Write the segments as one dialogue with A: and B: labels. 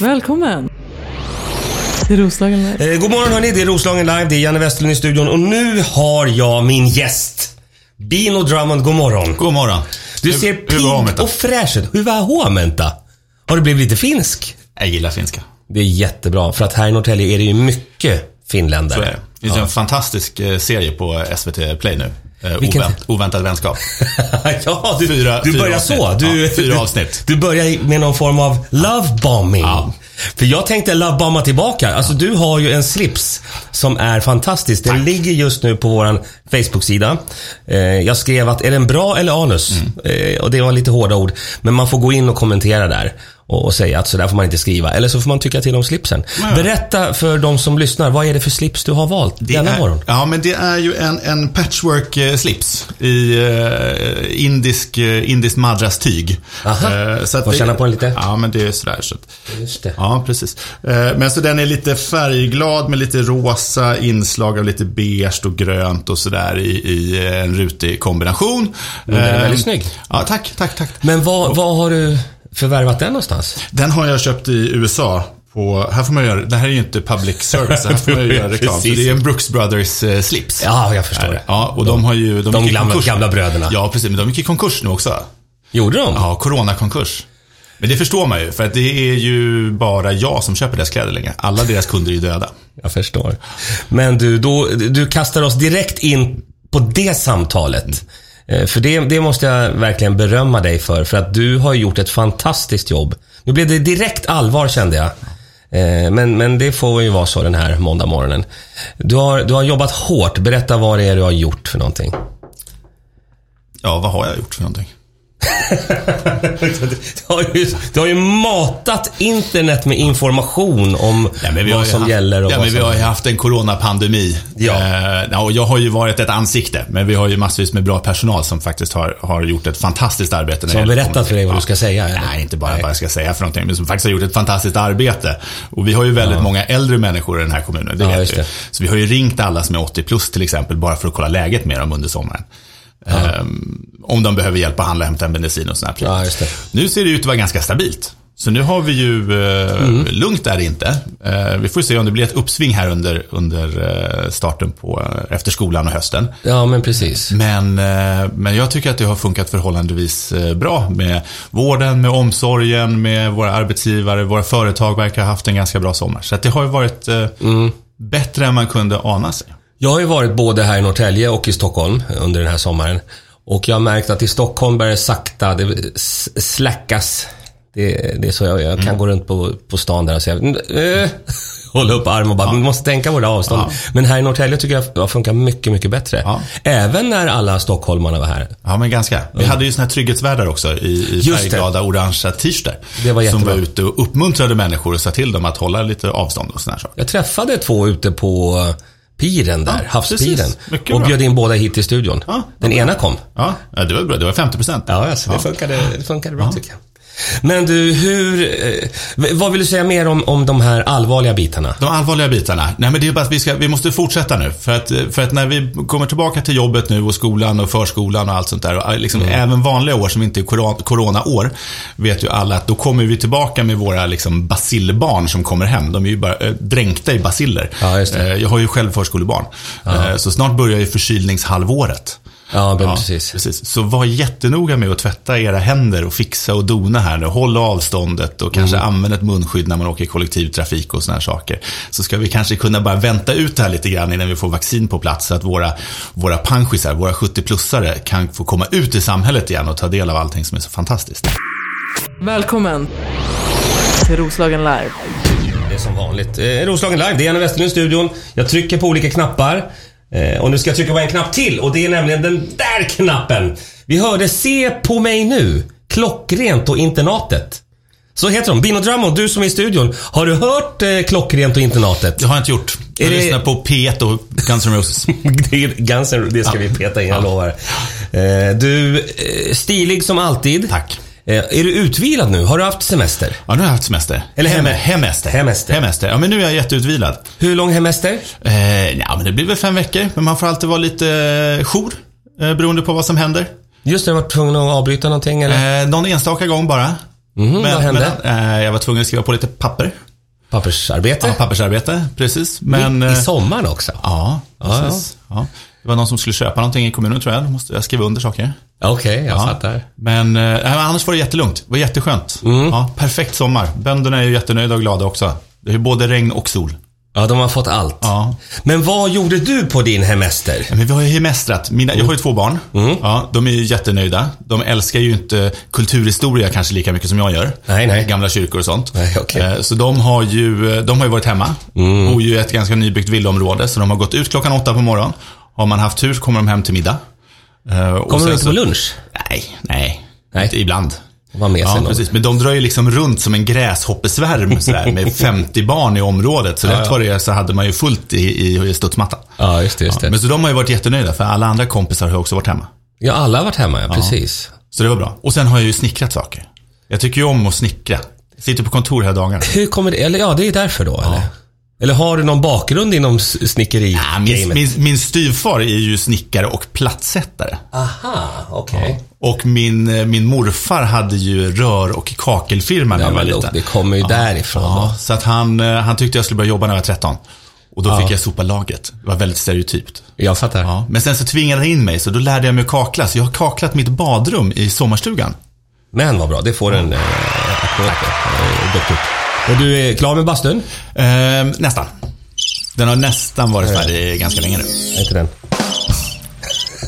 A: Välkommen! Det är Roslagen där.
B: Eh, god morgon hörni, det är Roslagen Live, det är Janne Westerlund i studion och nu har jag min gäst. Bino Drummond, god morgon.
C: God morgon.
B: Du
C: Hur-
B: ser
C: hur var
B: pigg
C: omhändet?
B: och fräsch ut. Hur var håmenta? Har du blivit lite finsk?
C: Jag gillar finska.
B: Det är jättebra, för att här i Norrtälje är det ju mycket
C: Så
B: finländare.
C: är det. Det finns ju en fantastisk eh, serie på SVT Play nu. Eh,
B: Vilken?
C: Ovänt, oväntad vänskap.
B: ja, du,
C: Fyra-
B: du
C: fyra
B: börjar
C: avsnitt.
B: så. Du,
C: Ja, fyra
B: du-
C: avsnitt.
B: Du börjar i- med någon form av lovebombing. För jag tänkte lovebomba tillbaka. Alltså du har ju en slips som är fantastisk. Den ligger just nu på våran Facebook-sida. Eh, jag skrev att, är den bra eller anus?
C: Mm.
B: Eh, och det var lite hårda ord. Men man får gå in och kommentera där. Och, och säga att sådär får man inte skriva. Eller så får man tycka till om slipsen. Berätta för de som lyssnar, vad är det för slips du har valt
C: Det
B: denna
C: är,
B: morgon?
C: Ja, men det är ju en, en patchwork-slips i eh, indisk, eh, indisk madras-tyg.
B: Aha.
C: Eh, så att
B: Får
C: det-
B: känna på den lite?
C: Ja, men det är sådär. Så att,
B: Just det.
C: Ja, precis. Eh, Men så den är lite färgglad med lite rosa inslag av lite beige och grönt och sådär i, i en rutig kombination.
B: den är väldigt
C: Eh,
B: snygg.
C: Ja, tack, tack, tack.
B: Men vad, vad har du förvärvat den någonstans?
C: Den har jag köpt i USA. På, här får man göra, det här är ju inte public service, här får man ju göra reklam. För
B: Precis.
C: det är en Brooks Brothers eh, slips.
B: Ja, jag förstår. det.
C: Ja, och de har ju...
B: De
C: gick i
B: gamla-
C: konkurs.
B: gamla bröderna.
C: Ja, precis. Men de gick i konkurs nu också.
B: Gjorde de?
C: Ja, coronakonkurs. Men det förstår man ju, för att det är ju bara jag som köper deras kläder längre. Alla deras kunder är ju döda.
B: Jag förstår. Men du, då, du kastar oss direkt in på det samtalet. Eh, För det, det måste jag verkligen berömma dig för. För att du har gjort ett fantastiskt jobb. Nu blev det direkt allvar kände jag. Eh, Men, men det får ju vara så den här måndag morgonen. Du har, du har jobbat hårt. Berätta vad det är du har gjort för någonting.
C: Ja, vad har jag gjort för någonting?
B: Du har ju, du har ju matat internet med information om
C: vi har
B: vad
C: ju
B: som
C: haft,
B: gäller och
C: ja,
B: vad
C: men vi
B: som-
C: har ju haft en coronapandemi.
B: Ja.
C: Eh, ja, och jag har ju varit ett ansikte, men vi har ju massvis med bra personal som faktiskt har, har gjort ett fantastiskt arbete. när
B: Som har
C: det gäller
B: berättat för dig vad du ska säga, eller?
C: Nej, inte bara vad jag ska säga för någonting, men som faktiskt har gjort ett fantastiskt arbete. Och vi har ju väldigt många äldre människor i den här kommunen, det
B: Ja,
C: vet
B: just
C: du.
B: det.
C: Så vi har ju ringt alla som är 80 plus till exempel, bara för att kolla läget med dem under sommaren. Ehm, om de behöver hjälp att handla, hämta en medicin och sådana här prylar.
B: Ja, just det.
C: Nu ser det ut att vara ganska stabilt. Så nu har vi ju, eh,
B: Mm.
C: lugnt är det inte. Eh, vi får se om det blir ett uppsving här under, under eh, starten på, eh, efter skolan och hösten.
B: Ja, men precis.
C: Men, eh, men jag tycker att det har funkat förhållandevis eh, bra med vården, med omsorgen, med våra arbetsgivare, våra företag verkar ha haft en ganska bra sommar. Så att det har ju varit eh,
B: Mm.
C: bättre än man kunde ana sig.
B: Jag har ju varit både här i Norrtälje och i Stockholm under den här sommaren. Och jag har märkt att i Stockholm börjar det sakta, det s- slackas. Det, det är så jag, jag kan
C: Mm.
B: gå runt på, på stan där och säga, äh, hålla upp arm och bara, vi måste tänka på det här avståndet. Men här i Norrtälje tycker jag det funkar mycket, mycket bättre.
C: Ja.
B: Även när alla stockholmarna var här.
C: Ja, men ganska. Vi hade ju såna här trygghetsvärdar också i, i
B: Mm. Just det.
C: färgglada orangea t-shirtar.
B: Det var
C: som
B: jättebra.
C: var ute och uppmuntrade människor och sa till dem att hålla lite avstånd och såna här saker.
B: Jag träffade två ute på piren där, havspiren.
C: precis. Mycket
B: Och
C: bra.
B: bjöd in båda hit till studion.
C: Ja,
B: Den ena kom.
C: Ja, ja, det var bra. Det var 50 procent.
B: Ja, alltså, det, funkade, det funkade bra tycker jag. Men du, hur... eh, v- Vad vill du säga mer om, om de här allvarliga bitarna?
C: De allvarliga bitarna. Nej, men det är bara att vi, ska, vi måste fortsätta nu. För att, för att när vi kommer tillbaka till jobbet nu och skolan och förskolan och allt sånt där. Och liksom
B: Mm.
C: Även vanliga år som inte är coron- coronaår. Vet ju alla att då kommer vi tillbaka med våra liksom basillbarn som kommer hem. De är ju bara eh, dränkta i basiller.
B: Ja, just det.
C: Eh, Jag har ju själv förskolebarn. Eh, Så snart börjar ju förkylningshalvåret.
B: Ja, men precis.
C: Så var jättenoga med att tvätta era händer och fixa och dona här nu. Håll avståndet och
B: Mm.
C: kanske använd ett munskydd när man åker i kollektivtrafik och såna här saker. Så ska vi kanske kunna bara vänta ut det här lite grann innan vi får vaccin på plats så att våra, våra panschisar, våra 70-plussare kan få komma ut i samhället igen och ta del av allting som är så fantastiskt.
A: Välkommen till Roslagen live.
B: Det är som vanligt. Eh, Roslagen live, det är Janne Westerlund i studion. Jag trycker på olika knappar. Eh, och nu ska jag trycka på en knapp till och det är nämligen den där knappen. Vi hörde Se på mig nu. Klockrent och internatet. Så heter de. Bino Drummond, du som är i studion. Har du hört eh, Klockrent och internatet?
C: Det har jag inte gjort. Jag
B: Är det-
C: lyssnar på P1 och Guns N' Roses.
B: Det är Guns N' Roses, det ska vi peta in, jag lovar. Eh, Du, eh, stilig som alltid.
C: Tack.
B: Eh, Är du utvilad nu? Har du haft semester?
C: Ja, nu har jag haft semester.
B: Eller hem-
C: hemester.
B: Hemester.
C: Hemester. Ja, men nu är jag jätteutvilad.
B: Hur lång hemester?
C: Eh, ja, men det blir väl fem veckor, men man får alltid vara lite eh, jour, eh, beroende på vad som händer.
B: Just det, jag var tvungen att avbryta någonting eller?
C: Eh, någon enstaka gång bara.
B: Mm, vad hände?
C: Men, eh, jag var tvungen att skriva på lite papper.
B: Pappersarbete?
C: Ja, pappersarbete, precis. Men,
B: I
C: eh,
B: sommaren också?
C: ja, precis. Ja. Det var någon som skulle köpa någonting i kommunen tror jag. Då måste jag skriva under saker.
B: Okej, jag
C: Ja.
B: fattar.
C: Men eh, nej, men annars var det jättelugnt. Det var jätteskönt.
B: Mm.
C: Ja, perfekt sommar. Bönderna är ju jättenöjda och glada också. Det är ju både regn och sol.
B: Ja, de har fått allt.
C: Ja.
B: Men vad gjorde du på din hemester?
C: Men vi har ju hemestrat. Mina, jag har ju
B: Mm.
C: två barn. Ja, de är ju jättenöjda. De älskar ju inte kulturhistoria kanske lika mycket som jag gör.
B: Nej, nej.
C: Gamla kyrkor och sånt.
B: Nej, okej. Mm.
C: Eh, Så de har, ju, eh, de har ju varit hemma. Bor ju i ett ganska nybyggt villaområde. Så de har gått ut klockan åtta på morgonen. Har man haft tur så kommer de hem till middag. Eh,
B: Kommer du inte på lunch?
C: Nej, nej.
B: Nej.
C: Inte Ibland.
B: Och var med sig
C: Ja,
B: någon?
C: precis. Men de drar ju liksom runt som en gräshoppesvärm sådär, med 50 barn i området. Så rätt vad det är så hade man ju fullt i, i, i studsmattan.
B: Ja, just det, just det.
C: Men så de har ju varit jättenöjda för alla andra kompisar har ju också varit hemma.
B: Ja, alla har varit hemma, ja. Precis.
C: Så det var bra. Och sen har jag ju snickrat saker. Jag tycker ju om att snickra. Jag sitter på kontor här dagarna.
B: Hur kommer det, eller ja, det är därför då, eller? Eller har du någon bakgrund inom s- snickeri?
C: Ja, min, min, min styvfar är ju snickare och plattsättare.
B: Aha, okej. Okay.
C: Och min, eh, min morfar hade ju rör och kakelfirma när jag var liten.
B: det kommer ju därifrån
C: Ja,
B: då.
C: så att han, eh, han tyckte jag skulle börja jobba när jag var 13. Och då fick jag sopa laget. Det var väldigt stereotypt.
B: Jag fattar.
C: Ja. Men sen så tvingade han in mig, så då lärde jag mig att kakla. Så jag har kaklat mitt badrum i sommarstugan.
B: Men vad bra, det får en eh, applåd. Eh, duktigt. Och du är klar med bastun?
C: Ehm, nästan. Den har nästan varit färdig ganska länge nu.
B: Nej, inte den.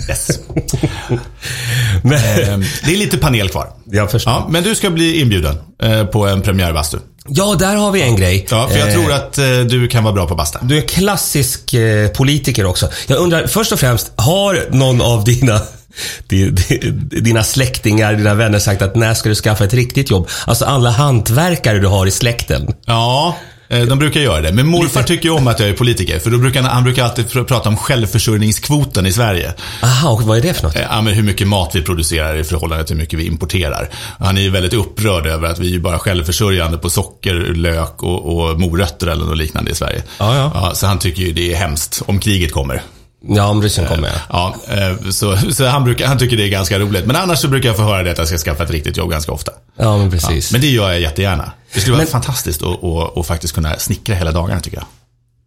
C: Yes.
B: Men,
C: Ehm, det är lite panel kvar.
B: Eh, jag förstår.
C: Ja,
B: Ja.
C: men du ska bli inbjuden eh, på en premiärbastu.
B: där har vi en grej.
C: Ja, för jag
B: Eh,
C: tror att eh, du kan vara bra på basta.
B: Du är klassisk eh, politiker också. Jag undrar först och främst, har någon av dina di- di- dina släktingar, dina vänner sagt att när ska du skaffa ett riktigt jobb? Alltså alla hantverkare du har i släkten.
C: Ja, eh, de brukar göra det. Men morfar tycker ju om att jag är politiker. För då brukar han, han brukar alltid pr- prata om självförsörjningskvoten i Sverige.
B: Aha, och vad är det för något?
C: Eh, Ja, men hur mycket mat vi producerar i förhållande till hur mycket vi importerar. Han är ju väldigt upprörd över att vi är ju bara självförsörjande på socker, lök och, och morötter eller något liknande i Sverige.
B: Ja, ja.
C: så han tycker ju det är hemskt om kriget kommer.
B: Ja, om ryssen kommer jag.
C: Ja, eh, så så han, brukar, han tycker det är ganska roligt. Men annars så brukar jag få höra det att jag ska skaffa ett riktigt jobb ganska ofta.
B: Ja, men precis.
C: Men det gör jag jättegärna. Det skulle vara fantastiskt att och, och faktiskt kunna snickra hela dagarna tycker jag.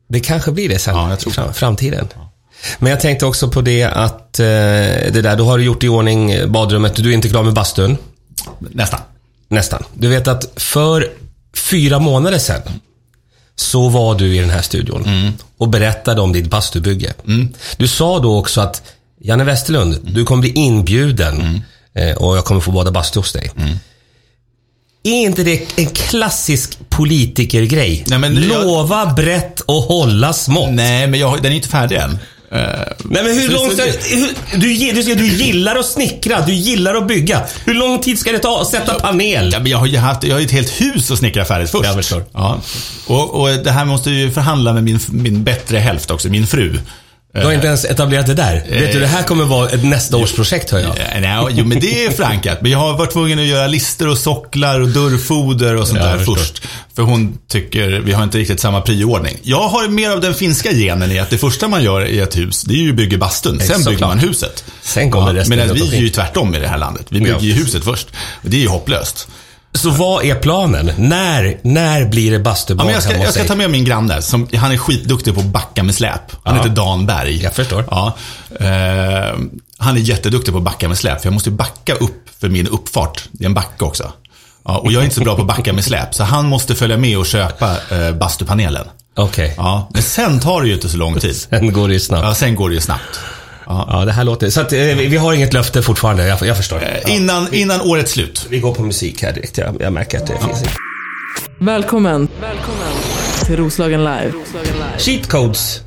B: Det kanske blir det sen.
C: Ja, jag tror
B: fram, framtiden. Men jag tänkte också på det att eh, det där, då har du gjort i ordning badrummet. Du är inte klar med bastun.
C: Nästan.
B: Nästan. Du vet att för fyra månader sedan så var du i den här studion
C: Mm.
B: och berättade om ditt bastubygge. Du sa då också att Janne Westerlund,
C: Mm.
B: du kommer bli inbjuden eh, och jag kommer få bada bastu hos dig.
C: Mm.
B: Är inte det en klassisk politikergrej?
C: Nej, men jag-
B: Lova brett och hålla smått. Nej,
C: Nej, men jag, har- den är inte färdig än. Eh,
B: men hur
C: Så-
B: långt
C: så-
B: ska, hur, du, gi- du, ska- du gillar att snickra, du gillar att bygga. Hur lång tid ska det ta att sätta panel?
C: Ja, men jag har ju haft, jag har ju ett helt hus att snickra färdigt först.
B: Jag förstår.
C: Ja. Och, och det här måste jag ju förhandla med min, min bättre hälft också, min fru.
B: Du har inte ens etablerat det där. Vet du, det här kommer vara ett nästa års projekt hör jag.
C: Eh, Nej, jo, men det är förankrat. Men jag har varit tvungen att göra lister och socklar och dörrfoder och sånt
B: Ja, jag
C: där
B: förstår.
C: först. För hon tycker vi har inte riktigt samma prioordning. Jag har mer av den finska genen i att det första man gör i ett hus, det är ju att bygga bastun. Sen
B: såklart.
C: bygger man huset.
B: Sen kommer resten
C: Medan
B: runt
C: vi är
B: omkring.
C: ju tvärtom i det här landet. Vi
B: Ja.
C: bygger ju huset först. Och det är ju hopplöst.
B: Så vad är planen? När, när blir det
C: Ja,
B: bastubad
C: men jag, ska,
B: hemma hos
C: jag ska
B: dig?
C: ta med min granne. Som, han är skitduktig på att backa med släp. Han
B: Ja.
C: heter Dan Berg.
B: Jag förstår.
C: Ja, eh, han är jätteduktig på att backa med släp. För jag måste ju backa upp för min uppfart. Det är en backe också. Ja, och jag är inte så bra på att backa med släp. Så han måste följa med och köpa eh, bastupanelen.
B: Okej,
C: Ja, men sen tar det ju inte så lång tid.
B: sen går det ju snabbt.
C: Ja, sen går det ju snabbt.
B: Ja, det här låter... Så att, eh, vi vi har inget löfte fortfarande, jag, jag förstår.
C: Eh, Innan, innan årets slut.
B: Vi går på musik här direkt, jag, jag märker att det finns...
A: Välkommen. Välkommen till Roslagen Live. Roslagen Live.
B: Cheat codes.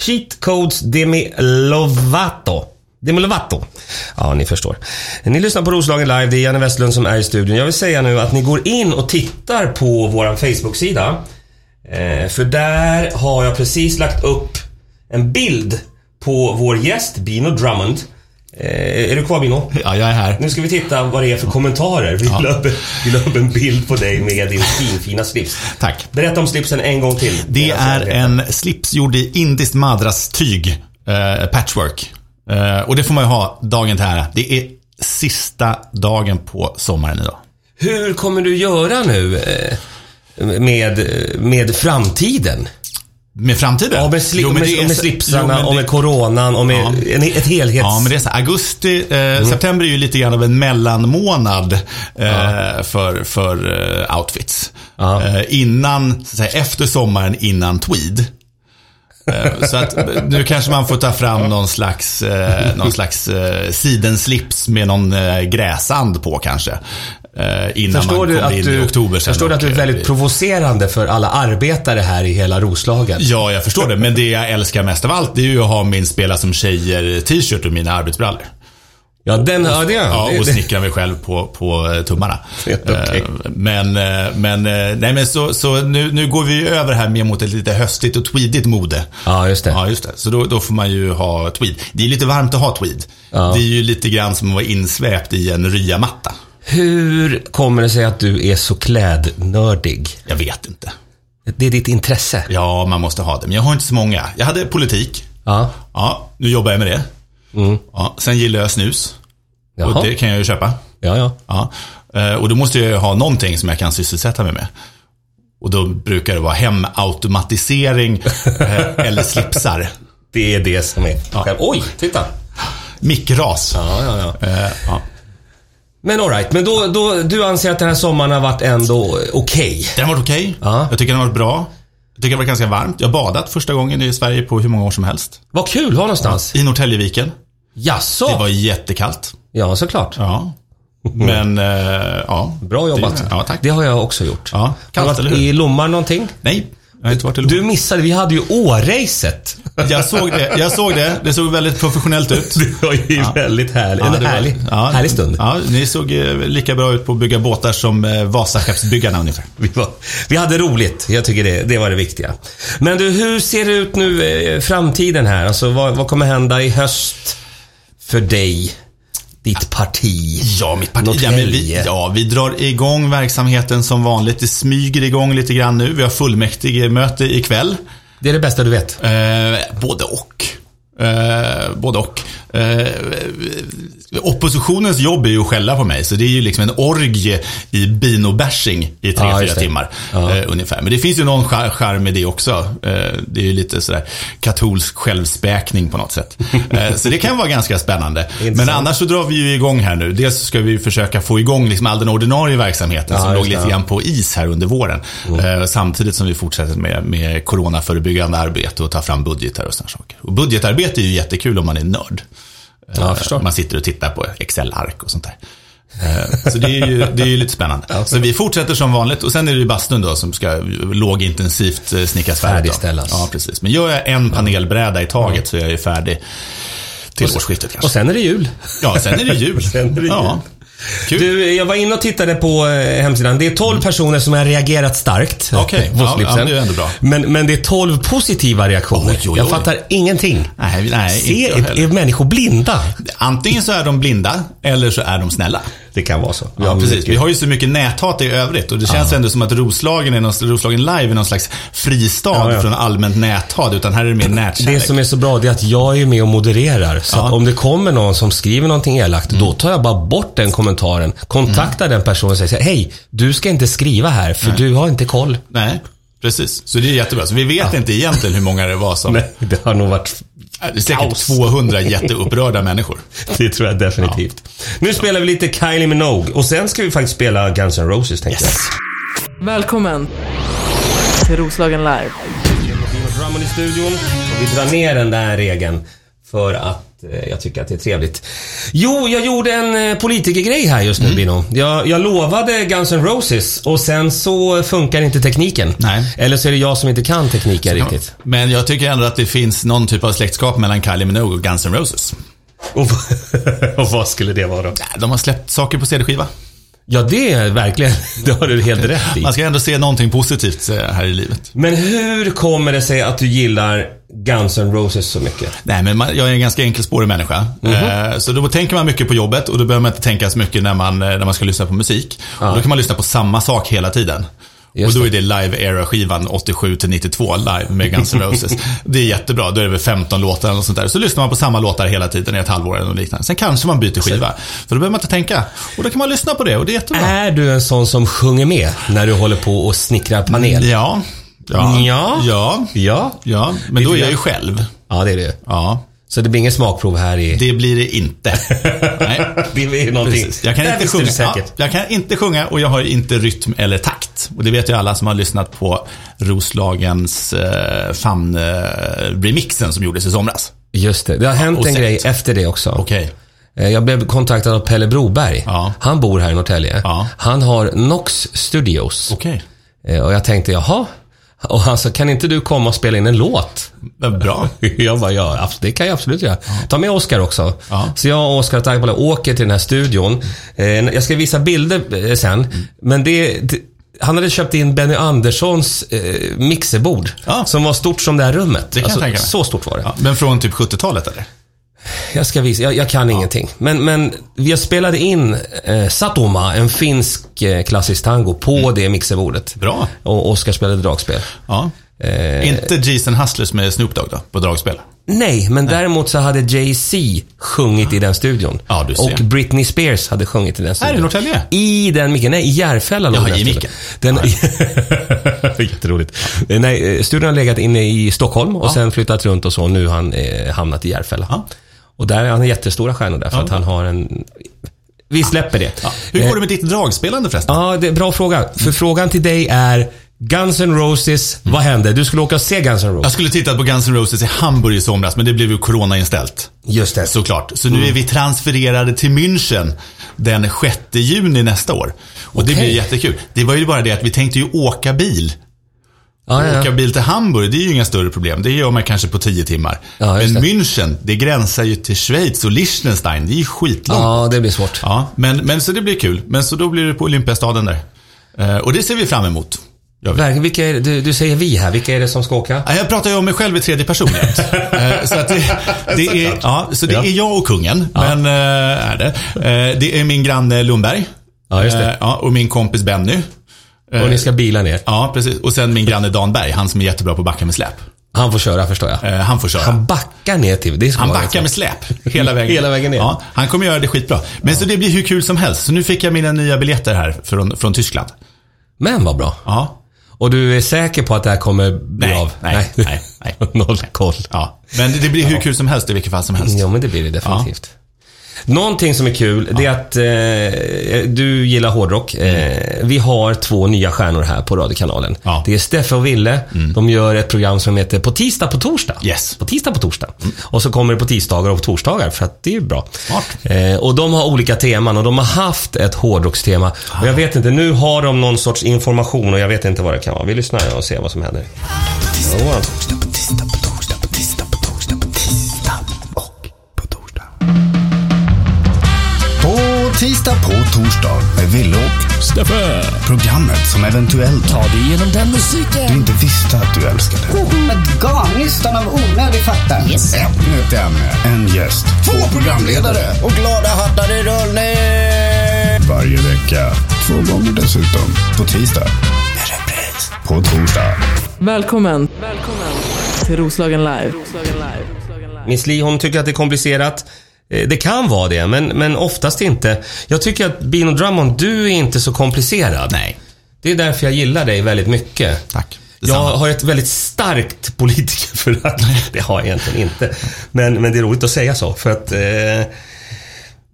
B: Cheat codes Demi Lovato. Demi Lovato. Ja, ni förstår. Ni lyssnar på Roslagen Live. Det är Janne Westlund som är i studion. Jag vill säga nu att ni går in och tittar på vår Facebook-sida. Eh, för där har jag precis lagt upp en bild på vår gäst Bino Drummond. Eh, är du kvar Bino?
C: Ja, jag är här.
B: Nu ska vi titta vad det är för kommentarer. Vi la upp, vi la upp en bild på dig med din finfina slips.
C: Tack.
B: Berätta om slipsen en gång till.
C: Det
B: Medan jag
C: är
B: berättar.
C: en slips gjord i indiskt madrastyg, eh, patchwork. Eh, och det får man ju ha dagen till ära. Det är sista dagen på sommaren idag.
B: Hur kommer du göra nu eh, med, med framtiden?
C: Med framtiden?
B: Ja, med, sli-
C: Jo, men det
B: med,
C: är
B: med
C: så-
B: slipsarna,
C: jo, men
B: och
C: det-
B: med coronan och med
C: Ja.
B: en, ett helhets...
C: Ja, men det är så här, augusti, eh,
B: Mm.
C: september är ju lite grann av en mellanmånad eh, för, för eh, outfits.
B: Ja.
C: Eh, innan, så att säga, efter sommaren, innan tweed. Eh, Så att eh, nu kanske man får ta fram någon slags, eh, någon slags eh, sidenslips med någon eh, gräsand på kanske. Eh, innan
B: Förstår
C: man
B: du
C: kommer
B: att
C: in
B: du,
C: i oktober sen.
B: förstår du att du
C: och,
B: är
C: eh,
B: väldigt provocerande för alla arbetare här i hela Roslagen?
C: Ja, jag förstår det. Men det jag älskar mest av allt, det är ju att ha min spela som tjejer t-shirt och mina arbetsbrallor.
B: Ja, den ja, det,
C: Ja, och
B: det,
C: snickrar mig själv på, på eh, tummarna.
B: Helt okej.
C: Eh, Men, eh, men, eh, nej, men så, så nu, nu går vi ju över här mer mot ett lite höstigt och tweedigt mode.
B: ja, just det.
C: Ja, just det. Så då, då får man ju ha tweed. Det är lite varmt att ha tweed. Det är ju lite grann som att vara insväpt i en ryamatta.
B: Hur kommer det sig att du är så klädnördig?
C: Jag vet inte.
B: Det är ditt intresse.
C: Ja, man måste ha det. Men jag har inte så många. Jag hade politik.
B: Ja.
C: Ja, nu jobbar jag med det. Ja, sen gillar jag snus.
B: Mm. Jaha.
C: Och det kan jag ju köpa.
B: Ja, ja.
C: Ja. eh, Och då måste jag ju ha någonting som jag kan sysselsätta mig med. Och då brukar det vara hemautomatisering eh, eller slipsar.
B: Det är det som är...
C: Ja.
B: Oj, titta!
C: Mikras.
B: Ja, ja, ja.
C: Eh, ja.
B: Men alright, men då, då, du anser att den här sommaren har varit ändå okej?
C: Den har varit okej.
B: Ja.
C: Jag tycker den har varit bra. Jag tycker det har varit ganska varmt. Jag har badat första gången i Sverige på hur många år som helst.
B: Vad kul, var någonstans?
C: I Norrtäljeviken.
B: Jaså?
C: Det var jättekallt.
B: Ja, såklart.
C: Ja. Men, eh, ja.
B: Bra jobbat.
C: Det, ja, tack.
B: Det har jag också gjort.
C: Ja,
B: Har du
C: kallt, eller
B: varit
C: hur?
B: I Lomman någonting?
C: Nej, jag har inte varit i Lund.
B: Du missade, vi hade ju Åracet.
C: Jag såg det. Jag såg det. Det såg väldigt professionellt ut.
B: Det var ju väldigt härligt.
C: Ja,
B: en
C: det var-
B: härlig,
C: ja,
B: härlig stund.
C: Ja, ni såg eh, lika bra ut på att bygga båtar som eh, Vasaskeppsbyggarna ungefär.
B: Vi, var, vi hade roligt. Jag tycker det, det var det viktiga. Men du, hur ser det ut nu eh, framtiden här? Alltså, vad, vad kommer hända i höst för dig? Ditt parti?
C: Ja, mitt parti. Ja,
B: Norrtälje.
C: men vi, ja, vi drar igång verksamheten som vanligt. Det smyger igång lite grann nu. Vi har fullmäktigemöte ikväll.
B: Det är det bästa du vet.
C: Eh, både och. Eh, både och. Eh, oppositionens jobb är ju att skälla på mig, så det är ju liksom en orgie i binobashing i tre,
B: Ja, just
C: fyra
B: det.
C: timmar.
B: Ja.
C: Eh, ungefär. Men det finns ju någon char- charm i det också. Eh, det är ju lite sådär katolsk självspäkning på något sätt. Eh, så det kan vara ganska spännande. Men
B: Intressant.
C: annars så drar vi ju igång här nu. Dels så ska vi ju försöka få igång liksom all den ordinarie verksamheten
B: Ja,
C: som låg
B: just det, Mm.
C: lite
B: ja.
C: grann på is här under våren. Eh, samtidigt som vi fortsätter med, med coronaförebyggande arbete och ta fram budgetar och sådana saker. Och budgetarbete är ju jättekul om man är nörd. Eh,
B: Ja, jag förstår.
C: man sitter och tittar på Excel-ark och sånt där. Eh, Så det är ju, det är ju lite spännande. Så vi fortsätter som vanligt och sen är det ju bastun då som ska lågintensivt eh, snickas färdigt. då.
B: Färdigställas.
C: Ja, precis. Men gör jag en panelbräda i taget så är jag ju färdig till årsskiftet kanske.
B: Och sen är det jul.
C: ja, sen är det jul.
B: Sen är det
C: Ja. Kul.
B: Du, jag var inne och tittade på eh, hemsidan. Det är 12 personer som har reagerat starkt.
C: Okej,
B: på
C: ja,
B: slipsen.
C: ja, det är ändå bra.
B: Men, men det är 12 positiva reaktioner.
C: Oj, oj, oj.
B: Jag fattar ingenting.
C: Nej, nej inte
B: Se,
C: jag
B: är,
C: heller.
B: är människor blinda?
C: Antingen så är de blinda eller så är de snälla.
B: Det kan vara så.
C: Ja, precis. Vi har ju så mycket näthat i övrigt och det känns ändå som att Roslagen, är någon, Roslagen Live är någon slags fristad
B: Ja, ja.
C: från allmänt näthat, utan här är det mer nätkärlek.
B: Det som är så bra det är att jag är med och modererar. Så att om det kommer någon som skriver någonting elakt,
C: Mm.
B: då tar jag bara bort den kommentaren. Kontaktar den personen och säger så här, hej, du ska inte skriva här för du har inte koll.
C: Nej, precis. Så det är jättebra. Så vi vet inte egentligen hur många det var som... Äh,
B: Nej, det har nog varit...
C: Det är säkert
B: Kaos.
C: 200 jätteupprörda människor.
B: Det tror jag definitivt. Nu spelar vi lite Kylie Minogue och sen ska vi faktiskt spela Guns N' Roses tänkte jag.
A: Välkommen till Roslagen Live.
B: Dino Drummond i studion. Och vi drar ner den där regeln för att eh, jag tycker att det är trevligt. Jo, jag gjorde en eh, politikergrej här just nu Bino. Jag, jag lovade Guns N' Roses och sen så funkar inte tekniken.
C: Nej.
B: Eller så är det jag som inte kan tekniken riktigt.
C: Men jag tycker ändå att det finns någon typ av släktskap mellan Kylie Minogue och Guns N' Roses.
B: Och, och vad skulle det vara då?
C: Ja, De har släppt saker på CD-skiva.
B: Ja, det är verkligen, Alltså, det har du helt rätt i.
C: Man ska ändå se någonting positivt eh, här i livet.
B: Men hur kommer det sig att du gillar Guns N' Roses så mycket?
C: Nej, men man, jag är en ganska enkelspårig människa.
B: Mhm.
C: Eh, så då tänker man mycket på jobbet och då behöver man inte tänka så mycket när man, eh, när man ska lyssna på musik. Och då kan man lyssna på samma sak hela tiden.
B: Just
C: och då
B: det.
C: är det Live Era-skivan 87 till 92 live med Guns N' Roses. det är jättebra. Då är det väl 15 låtar eller sånt där. Så lyssnar man på samma låtar hela tiden i ett halvår eller något liknande. Sen kanske man byter skiva. För då behöver man inte tänka. Och då kan man lyssna på det och det är jättebra.
B: Är du en sån som sjunger med när du håller på och snickrar panel?
C: Ja. Ja.
B: Ja.
C: Ja.
B: Ja.
C: Ja. Men då är
B: Lite
C: jag ju
B: grann.
C: själv.
B: Ja, det är det.
C: Ja.
B: Så det blir ingen smakprov här i...
C: Det blir det inte. Nej.
B: Det är ju någonting.
C: Precis. Jag kan,
B: Där
C: inte
B: visste du
C: sjunga. Ja,
B: säkert.
C: jag kan inte sjunga och jag har inte rytm eller takt. Och det vet ju alla som har lyssnat på Roslagens eh, famn-remixen som gjordes i somras.
B: Just det. Det har hänt
C: och
B: en
C: sett.
B: grej efter det också.
C: Okej.
B: Eh, Jag blev kontaktad av Pelle Broberg.
C: Ja.
B: Han bor här i Norrtälje.
C: Ja. Oh.
B: Han har Nox Studios.
C: Okej.
B: Eh, Och jag tänkte, jaha? Och han sa, kan inte du komma och spela in en låt?
C: Men Bra.
B: Jag bara, ja, abs- det kan jag absolut göra. Ta med Oscar också.
C: Ja.
B: Så jag och Oscar Tagbala åker till den här studion. Eh, Jag ska visa bilder eh, sen.
C: Mm.
B: Men det, det, han hade köpt in Benny Anderssons eh, mixerbord.
C: Ja.
B: Som var stort som det här rummet. Alltså,
C: Det kan jag tänka mig.
B: Så stort var det.
C: Ja, men från typ 70-talet eller?
B: Jag ska visa, jag, jag kan ingenting. Men, men jag spelade in eh, Satoma, en finsk eh, klassisk tango, på det mixerbordet.
C: Mm. Bra.
B: Och Oscar spelade dragspel.
C: Ja.
B: Eh.
C: Inte Jason Hustlers med Snoop Dogg då, på dragspel?
B: Nej, men däremot så hade Jay-Z sjungit i den studion.
C: Ja, du ser.
B: och Britney Spears hade sjungit i den
C: Här
B: studion.
C: i Norrtälje?
B: I den micken, nej i Järfälla låg
C: Jaha,
B: den
C: i
B: studion.
C: micken.
B: Den, Jätteroligt. Eh, Nej, eh, studion har legat inne i Stockholm och sen flyttat runt och så. Nu har han eh, hamnat i Järfälla.
C: Ja.
B: Och där är han jättestora stjärnor där för att han har en... Vi släpper det.
C: Ja. Mm. Hur går det med ditt dragspelande förresten?
B: Ja, det är en bra fråga. För frågan till dig är Guns N' Roses, vad
C: Mm.
B: hände? Du skulle åka och se Guns N'
C: Jag
B: Roses.
C: skulle titta på Guns N' Roses i Hamburg i somras, men det blev ju coronainställt.
B: Just det.
C: Såklart. Så nu är vi transfererade till München den 6 juni nästa år. Och det
B: Okej.
C: blir jättekul. Det var ju bara det att vi tänkte ju åka bil.
B: Ja, ja,
C: Åka
B: ja.
C: bil till Hamburg, det är ju inga större problem. Det gör man kanske på 10 timmar.
B: Ja, just
C: men
B: det.
C: München, det gränsar ju till Schweiz och Liechtenstein. Det är ju skitlångt. Ja.
B: ja, det blir svårt.
C: men, men så det blir kul. Men så då blir det på Olympiastaden där. Eh, och det ser vi fram emot. Gör vi.
B: Verkligen. Vilka är det? Du, du säger vi här. Vilka är det som ska åka?
C: Ja, Jag pratar ju om mig själv i tredje person jämt. Eh, så att det, det, är, ja, så det
B: Ja.
C: är jag och kungen. Men, eh, är det. Eh, det är min granne Lundberg.
B: Ja, just det.
C: Eh, ja, och min kompis Benny.
B: Eh, Och ni ska bila ner.
C: Ja, precis. Och sen min granne Dan Berg, han som är jättebra på att backa med släp.
B: Han får köra förstår jag.
C: Eh, han får köra.
B: Han backar ner till... Det ska
C: Han
B: vara
C: backar
B: ganska-
C: med släp hela vägen
B: Hela vägen ner.
C: Ja, han kommer göra det skitbra. Men så det blir hur kul som helst. Så nu fick jag mina nya biljetter här från, från Tyskland.
B: Men vad bra.
C: Ja.
B: Och du är säker på att det här kommer bli
C: Nej,
B: av?
C: nej, nej, nej.
B: Noll koll.
C: ja. Men det blir hur kul som helst i vilket fall som helst.
B: Ja, men det blir det definitivt. Någonting som är kul, det är att eh, du gillar hårdrock. Eh, vi har två nya stjärnor här på radiokanalen.
C: Mm. Ja. Mm.
B: Det är Steffe och Ville. De gör ett program som heter På tisdag på torsdag.
C: Yes. Mm.
B: På tisdag på torsdag. Och så kommer det på tisdagar och på torsdagar, för att det är ju bra.
C: Smart.
B: Eh, och de har olika teman och de har haft ett hårdrockstema. Och
C: Ah.
B: jag vet inte, nu har de någon sorts information och jag vet inte vad det kan vara. Vi lyssnar och ser vad som händer. Ja.
D: På tisdag på torsdag med Ville och
E: Steffe!
D: programmet som eventuellt
E: Ta dig igenom den
D: du
E: musiken!
D: inte visste att du älskade.
F: Oh, Med garnnystan av onödig fakta.
D: Ännu ett ämne, en gäst, två programledare och glada hattar i rullning. Varje vecka, två gånger dessutom. På tisdag. Med repris. På torsdag.
A: Välkommen. Välkommen till Roslagen Live. Roslagen Live. Roslagen Live.
B: Miss Li, hon tycker att det är komplicerat. Eh, Det kan vara det, men, men oftast inte. Jag tycker att Bino Drummond, du är inte så komplicerad.
C: Nej.
B: Det är därför jag gillar dig väldigt mycket.
C: Tack.
B: Jag har ett väldigt starkt politikerförakt. Det har jag egentligen inte. Men, men det är roligt att säga så, för att eh,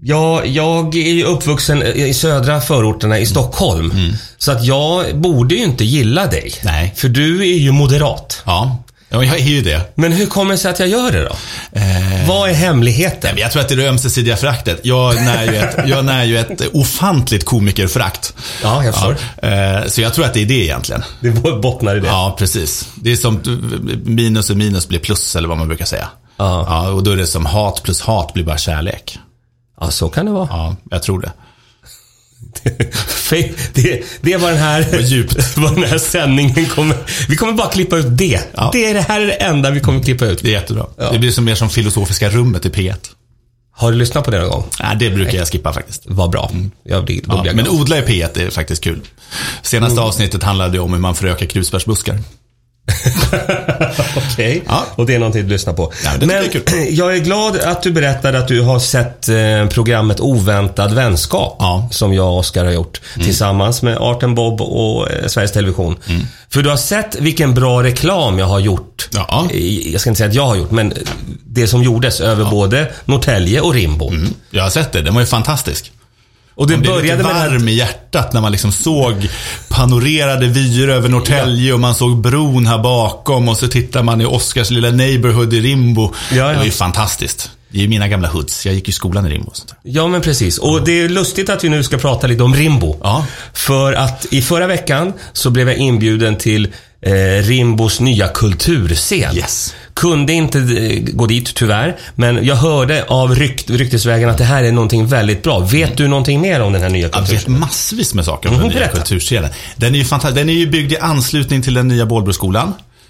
B: jag, jag är ju uppvuxen i södra förorterna i
C: Mm.
B: Stockholm. Så att jag borde ju inte gilla dig.
C: Nej.
B: För du är ju moderat.
C: Ja, ja jag är ju det.
B: Men hur kommer det sig att jag gör det då?
C: Eh,
B: Vad är hemligheten?
C: jag tror att det är det ömsesidiga föraktet. Jag när ju ett, jag när ju ett ofantligt komikerförakt.
B: Ja, jag förstår.
C: Eh, så jag tror att det är det egentligen.
B: Det bottnar i det.
C: Ja, precis. Det är som minus och minus blir plus, eller vad man brukar säga.
B: Ja.
C: Ja, och då är det som hat plus hat blir bara kärlek.
B: Ja, så kan det vara.
C: Ja, jag tror det.
B: Fe- Det, det var den här... Vad djupt. Var den här sändningen kommer... Vi kommer bara klippa ut det.
C: Ja.
B: det. är- Det här är det enda vi kommer klippa ut.
C: Det är jättebra.
B: Ja.
C: Det blir som mer som filosofiska rummet i P1.
B: Har du lyssnat på det någon gång?
C: Nej, det brukar jag skippa faktiskt. Mm.
B: Vad bra. Jag blir, då
C: Ja,
B: blir jag
C: men
B: glad. Mm.
C: odla i P1 är faktiskt kul. Senaste avsnittet handlade om hur man förökar krusbärsbuskar.
B: Okej,
C: Ja.
B: och det är någonting du lyssnar på.
C: Ja, det tycker jag är kul.
B: jag är glad att du berättade att du har sett eh, programmet Oväntad vänskap.
C: Ja. Mm.
B: Som jag och Oskar har gjort tillsammans med Arten Bob och eh, Sveriges Television. För du har sett vilken bra reklam jag har gjort.
C: Ja.
B: I- Jag ska inte säga att jag har gjort, men det som gjordes över både Norrtälje och Rimbo.
C: Jag har sett det, den var ju fantastisk.
B: Och det
C: Man blev lite
B: började med
C: varm i hjärtat när man liksom såg panorerade vyer över Norrtälje och man såg bron här bakom och så tittar man i Oscars lilla neighborhood i Rimbo.
B: Ja, ja.
C: Det var ju fantastiskt. Det är ju mina gamla hoods. Jag gick i skolan i Rimbo. Och sånt där.
B: Ja, men precis. Och det är lustigt att vi nu ska prata lite om Rimbo.
C: Ja.
B: För att i förra veckan så blev jag inbjuden till eh, Rimbos nya kulturscen.
C: Yes.
B: Kunde inte eh, gå dit tyvärr, men jag hörde av rykt, ryktesvägen att det här är någonting väldigt bra.
C: Mm.
B: Vet du någonting mer om den här nya
C: Jag vet
B: kulturscenen?
C: massvis med saker om den nya
B: berätta.
C: kulturscenen. Den är ju fantastisk. Den är ju byggd i anslutning till den nya Bålbroskolan.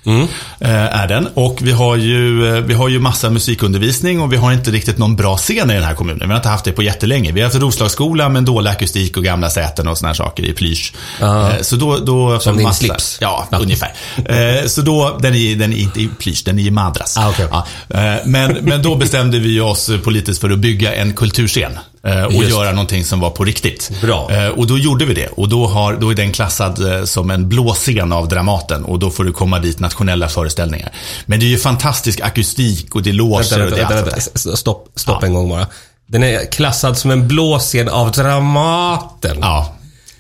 B: Mm.
C: Eh, Är den. Och vi har, ju, eh, vi har ju massa musikundervisning och vi har inte riktigt någon bra scen i den här kommunen. Vi har inte haft det på jättelänge. Vi har haft Roslagsskolan med dålig akustik och gamla säten och såna här saker i plysch. Eh, Så då, då
B: Som din
C: massa-
B: slips.
C: Ja, ungefär. Eh, Så då, den är, den är inte i plysch, den är i madras.
B: Ah, okej.
C: Ja, eh, men, men då bestämde vi oss politiskt för att bygga en kulturscen. eh, Och
B: Just.
C: göra någonting som var på riktigt.
B: Bra.
C: Eh, Och då gjorde vi det. Och då, har, då är den klassad eh, som en blå scen av Dramaten. Och då får du komma dit nationella föreställningar. Men det är ju fantastisk akustik och det är
B: Vänta,
C: loger och
B: vänta,
C: det är
B: vänta,
C: allt.
B: vänta.
C: sånt
B: S- Stopp, stopp en gång bara. Den är klassad som en blå scen av Dramaten.
C: där. Ja.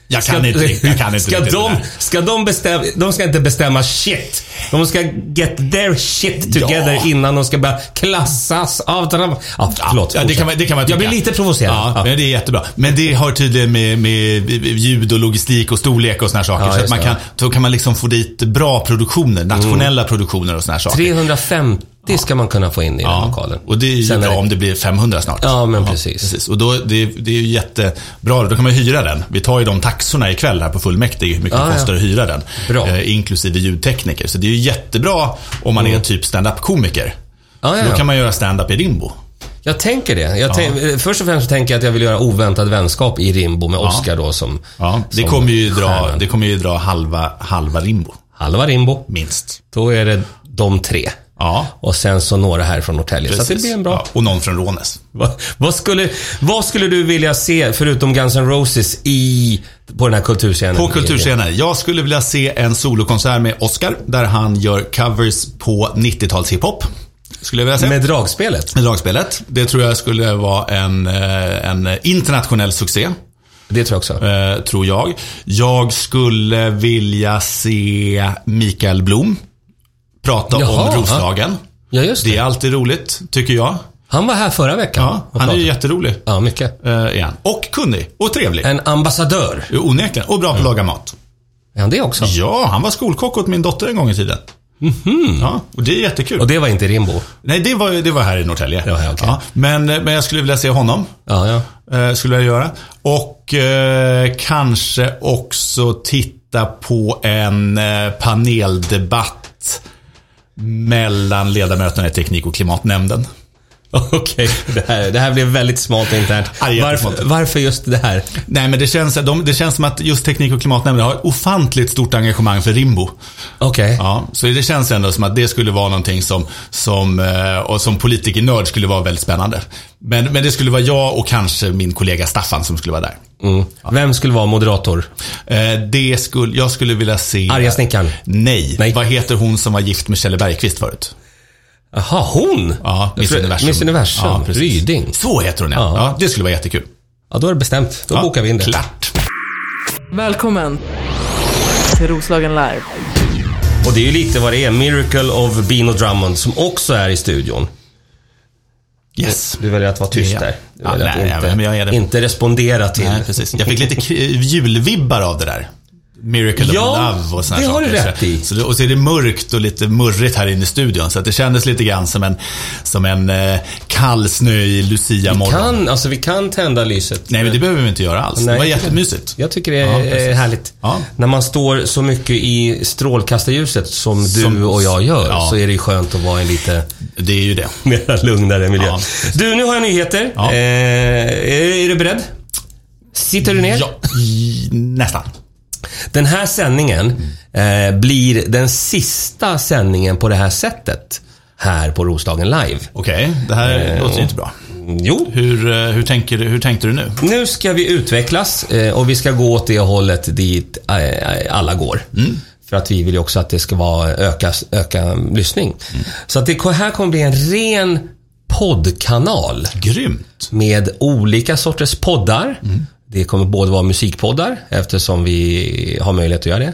C: Jag kan inte riktigt- jag kan inte
B: ska
C: riktigt
B: de,
C: det där.
B: ska de bestämma, de ska inte bestämma shit. De ska get their shit together
C: Ja.
B: innan de ska börja klassas av Dramaten. Ja, förlåt.
C: Ja, det
B: fortsätt.
C: kan man, det kan man
B: Jag
C: tycka.
B: blir lite provocerad.
C: Ja,
B: Ja.
C: Men det är jättebra. Men det har tydligen med, med ljud och logistik och storlek och såna här saker.
B: Ja,
C: så att
B: just
C: man
B: det.
C: kan, då kan man liksom få dit bra produktioner, nationella
B: Mm.
C: produktioner och såna här saker.
B: 350 ska man kunna få in i den lokalen.
C: Och det är ju
B: Sen
C: bra
B: är det-
C: om det blir 500 snart.
B: Ja, men precis.
C: Och då, det, det är ju jättebra. Då kan man ju hyra den. Vi tar ju de taxorna ikväll här på fullmäktige, hur mycket
B: Ja,
C: det
B: Ah, ja.
C: kostar att hyra den.
B: Bra.
C: Eh, inklusive ljudtekniker. Så det är ju jättebra om man är typ stand-up-komiker.
B: Ja, ja,
C: Då
B: Mm. ja.
C: kan man göra stand-up i Rimbo.
B: Jag tänker det. Jag tänk, eh, Först och främst så tänker jag att jag vill göra oväntad vänskap i Rimbo med Oscar då som...
C: Ja, det,
B: som
C: kommer ju dra,
B: stjärnan.
C: det kommer ju dra halva, halva Rimbo,
B: Halva Rimbo.
C: minst.
B: Då är det de tre.
C: Ja.
B: Och sen så några här från Norrtälje. Så att det
C: Precis.
B: blir en bra...
C: Ja, och någon från Rånäs.
B: Va, vad, skulle, vad skulle du vilja se, förutom Guns N' Roses, i, på den här kulturscenen?
C: På kulturscenen. Jag skulle vilja se en solokonsert med Oscar där han gör covers på 90-tals hiphop. Skulle jag vilja se.
B: Med dragspelet?
C: Med dragspelet. Det tror jag skulle vara en, eh, en internationell succé.
B: Det tror jag också.
C: eh, Tror jag. Jag skulle vilja se Mikael Blom prata
B: Jaha,
C: om Roslagen.
B: Ja, just
C: Det
B: det.
C: är alltid roligt, tycker jag.
B: Han var här förra veckan.
C: Ja,
B: och
C: han är ju
B: pratade.
C: jätterolig.
B: Ja, mycket.
C: Eh, igen. Och kunnig och trevlig.
B: En ambassadör.
C: Jo, Onekligen. Och bra på att laga mat.
B: Är han det också?
C: Ja, han var skolkock åt min dotter en gång i tiden. Ja, och det är jättekul.
B: Mhm. Och det var inte Rimbo?
C: Nej, det var, det var här i Norrtälje.
B: Ja, ja, okej.
C: men, men jag skulle vilja se honom.
B: Ja, ja.
C: Eh, skulle jag göra. Och eh, kanske också titta på en eh, paneldebatt mellan ledamöterna i Teknik och klimatnämnden.
B: Okej, det, här, det här blev väldigt smalt internt.
C: Ja, det är
B: Varför,
C: jättesmalt.
B: varför just det här?
C: Nej, men det känns, de, det känns som att just Teknik och klimatnämnden har ett ofantligt stort engagemang för Rimbo.
B: Okej.
C: Ja, så det känns ändå som att det skulle vara någonting som, som, eh, och som politikernörd skulle vara väldigt spännande. Men, men det skulle vara jag och kanske min kollega Staffan som skulle vara där.
B: Mm. Vem skulle vara moderator?
C: Eh, Det skulle, jag skulle vilja se...
B: Arga snickaren?
C: Nej.
B: Nej.
C: Vad heter hon som var gift med Kjelle Bergqvist förut?
B: Jaha, hon?
C: Ja, Miss
B: Fru-
C: Universum.
B: Miss Universum.
C: Ja, precis.
B: Ryding.
C: Så heter hon ja.
B: Ja.
C: ja. det skulle vara jättekul.
B: Ja, då är det bestämt. Då
C: ja,
B: bokar vi in det.
C: Klart.
A: Välkommen till Roslagen Live.
B: Och det är ju lite vad det är. Miracle of Beano Drummond som också är i studion.
C: Yes.
B: Du väljer att vara tyst
C: Ja.
B: där. Du
C: Ja,
B: väljer att
C: nej,
B: inte,
C: men jag är det.
B: inte respondera till.
C: Nej, precis. Jag fick lite k- julvibbar av det där. Miracle
B: Ja,
C: of Love och såna här
B: det har
C: saker.
B: du rätt i.
C: Så, och så är det mörkt och lite murrigt här inne i studion. Så att det kändes lite grann som en, som en eh, kall snöig Lucia-morgon.
B: Kan, alltså vi kan tända lyset.
C: Nej, men det behöver vi inte göra alls.
B: Nej.
C: Det var jättemysigt.
B: Jag tycker det
C: Ja,
B: är
C: precis.
B: härligt.
C: Ja.
B: När man står så mycket i strålkastarljuset som du
C: Som-
B: och jag gör
C: Ja.
B: så är det ju skönt att vara i en lite
C: Det är ju det.
B: mer lugnare miljö.
C: Ja,
B: du, nu har jag nyheter.
C: Ja.
B: Eh, är, är du beredd? Sitter du ner?
C: Ja, i- nästan.
B: Den här sändningen eh, blir den sista sändningen på det här sättet här på Roslagen Live.
C: Okej, det här låter ju inte bra.
B: Jo,
C: Hur, eh, hur, tänker, du- hur tänkte du nu?
B: Nu ska vi utvecklas eh, och vi ska gå åt det hållet dit eh, alla går. För att vi vill ju också att det ska vara öka, öka lyssning. Så att det här kommer bli en ren poddkanal
C: Grymt.
B: med olika sorters poddar. Det kommer både vara musikpoddar eftersom vi har möjlighet att göra det.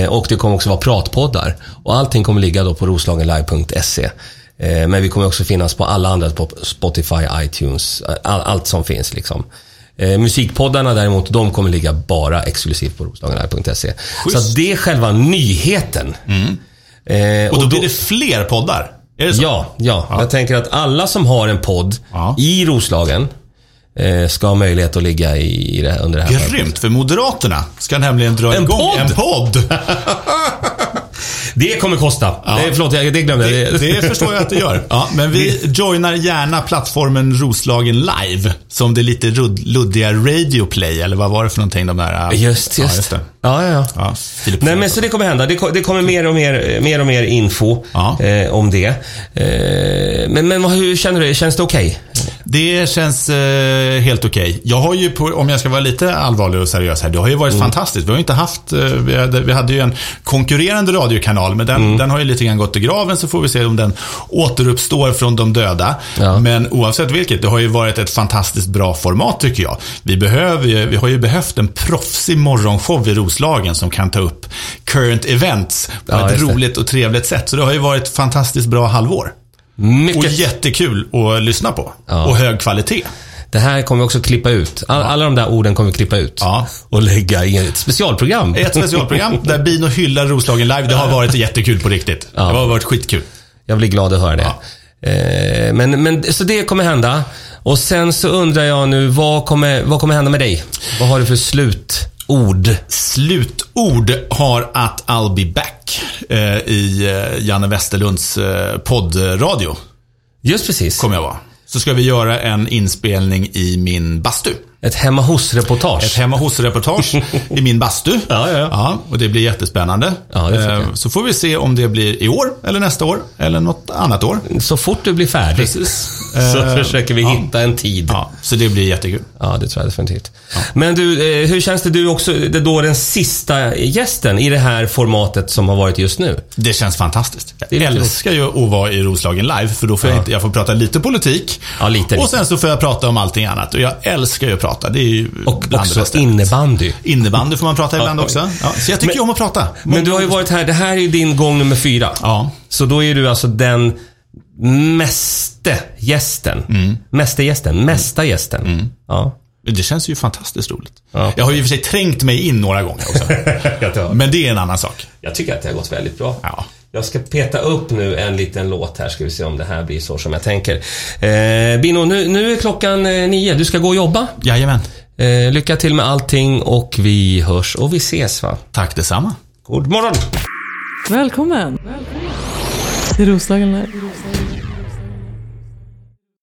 B: Eh, Och det kommer också vara pratpoddar. Och allting kommer ligga då på roslagenlive.se. Eh, Men vi kommer också finnas på alla andra, på Spotify, iTunes, eh, all, allt som finns liksom. Eh, Musikpoddarna däremot, de kommer ligga bara exklusivt på roslagenlive.se. Så att det är själva nyheten. Eh,
C: Och då, blir det fler poddar? Är det så?
B: Ja, ja, jag tänker att alla som har en podd
C: Ja.
B: i Roslagen eh, ska ha möjlighet att ligga i, i det här, under det här skälet.
C: Grymt, för Moderaterna ska nämligen dra
B: En
C: igång
B: podd?
C: en podd.
B: Det kommer kosta. Eh, förlåt, jag, det glömde jag.
C: Det, det förstår jag att du gör. Ja, men vi joinar gärna plattformen Roslagen Live. Som det lite rudd, luddiga Radio Play, eller vad var det för någonting de där... eh?
B: Just, just.
C: Ja, just det.
B: Ja, ja, ja.
C: Ja, Filip
B: Nej men så det kommer hända. Det, ko- det kommer mer och mer, eh, mer, och mer info
C: Ja.
B: eh, om det. Eh, men men vad, hur känner du? Känns det okej?
C: Det känns eh, helt okej. Jag har ju, på, om jag ska vara lite allvarlig och seriös här, det har ju varit
B: Mm.
C: fantastiskt. Vi har ju inte haft, eh, vi hade, vi hade ju en konkurrerande radiokanal, men den,
B: Mm.
C: den har ju lite grann gått i graven, så får vi se om den återuppstår från de döda.
B: Ja.
C: Men oavsett vilket, det har ju varit ett fantastiskt bra format tycker jag. Vi, behöver ju, vi har ju behövt en proffsig morgonshow i Roslagen som kan ta upp current events på
B: Ja,
C: ett
B: just det.
C: roligt och trevligt sätt. Så det har ju varit ett fantastiskt bra halvår. Och
B: Mycket.
C: jättekul att lyssna på.
B: Ja.
C: Och hög kvalitet.
B: Det här kommer vi också klippa ut. All, Alla de där orden kommer vi klippa ut.
C: Ja.
B: Och lägga i ett specialprogram.
C: Ett specialprogram där Bino hyllar Roslagen live. Det har varit jättekul på riktigt. Det har varit skitkul.
B: Jag blir glad att höra det. Eh, Men, men, så det kommer hända. Och sen så undrar jag nu, vad kommer, vad kommer hända med dig? Vad har du för slutord?
C: Slutord har att I'll be back eh, i eh, Janne Westerlunds eh, poddradio.
B: Just precis.
C: Kommer jag vara. Så ska vi göra en inspelning i min bastu.
B: Ett hemma
C: Ett
B: hos-reportage.
C: hemma hos-reportage i min bastu.
B: Ja, ja, ja.
C: och det blir jättespännande.
B: Ja, det får
C: Eh,
B: jag.
C: så får vi se om det blir i år, eller nästa år, eller något annat år.
B: Så fort du blir färdig så försöker vi hitta en tid. Eh, Ja.
C: Ja, så det blir jättekul.
B: det tror jag definitivt. Men du, eh, hur känns det? Du är också det är då den sista gästen i det här formatet som har varit just nu.
C: Det känns fantastiskt.
B: Det är
C: Jag
B: lite
C: älskar ju att vara i Roslagen live, för då får jag, inte, jag får prata lite politik.
B: Ja, lite,
C: och
B: lite.
C: sen så får jag prata om allting annat. Och jag älskar ju att prata. Det är ju
B: Och
C: bland det
B: också
C: bästa.
B: innebandy.
C: Innebandy får man prata ibland
B: Ja.
C: också. Ja, så jag tycker
B: Men-
C: ju om att prata.
B: Men du har ju varit här, det här är ju din gång nummer fyra.
C: Ja.
B: Så då är du alltså den mäste gästen. Mäste gästen, mesta gästen. Ja.
C: Det känns ju fantastiskt roligt.
B: Ja.
C: Jag har ju i och för sig trängt mig in några gånger också. Men det är en annan sak.
B: Jag tycker att det har gått väldigt bra.
C: Ja.
B: Jag ska peta upp nu en liten låt här, ska vi se om det här blir så som jag tänker. Eh, Bino, nu, nu är klockan eh, nio. Du ska gå och jobba.
C: Jajamän.
B: Eh, lycka till med allting och vi hörs och vi ses va?
C: Tack detsamma.
B: God morgon!
A: Välkommen! Till Roslagen Live.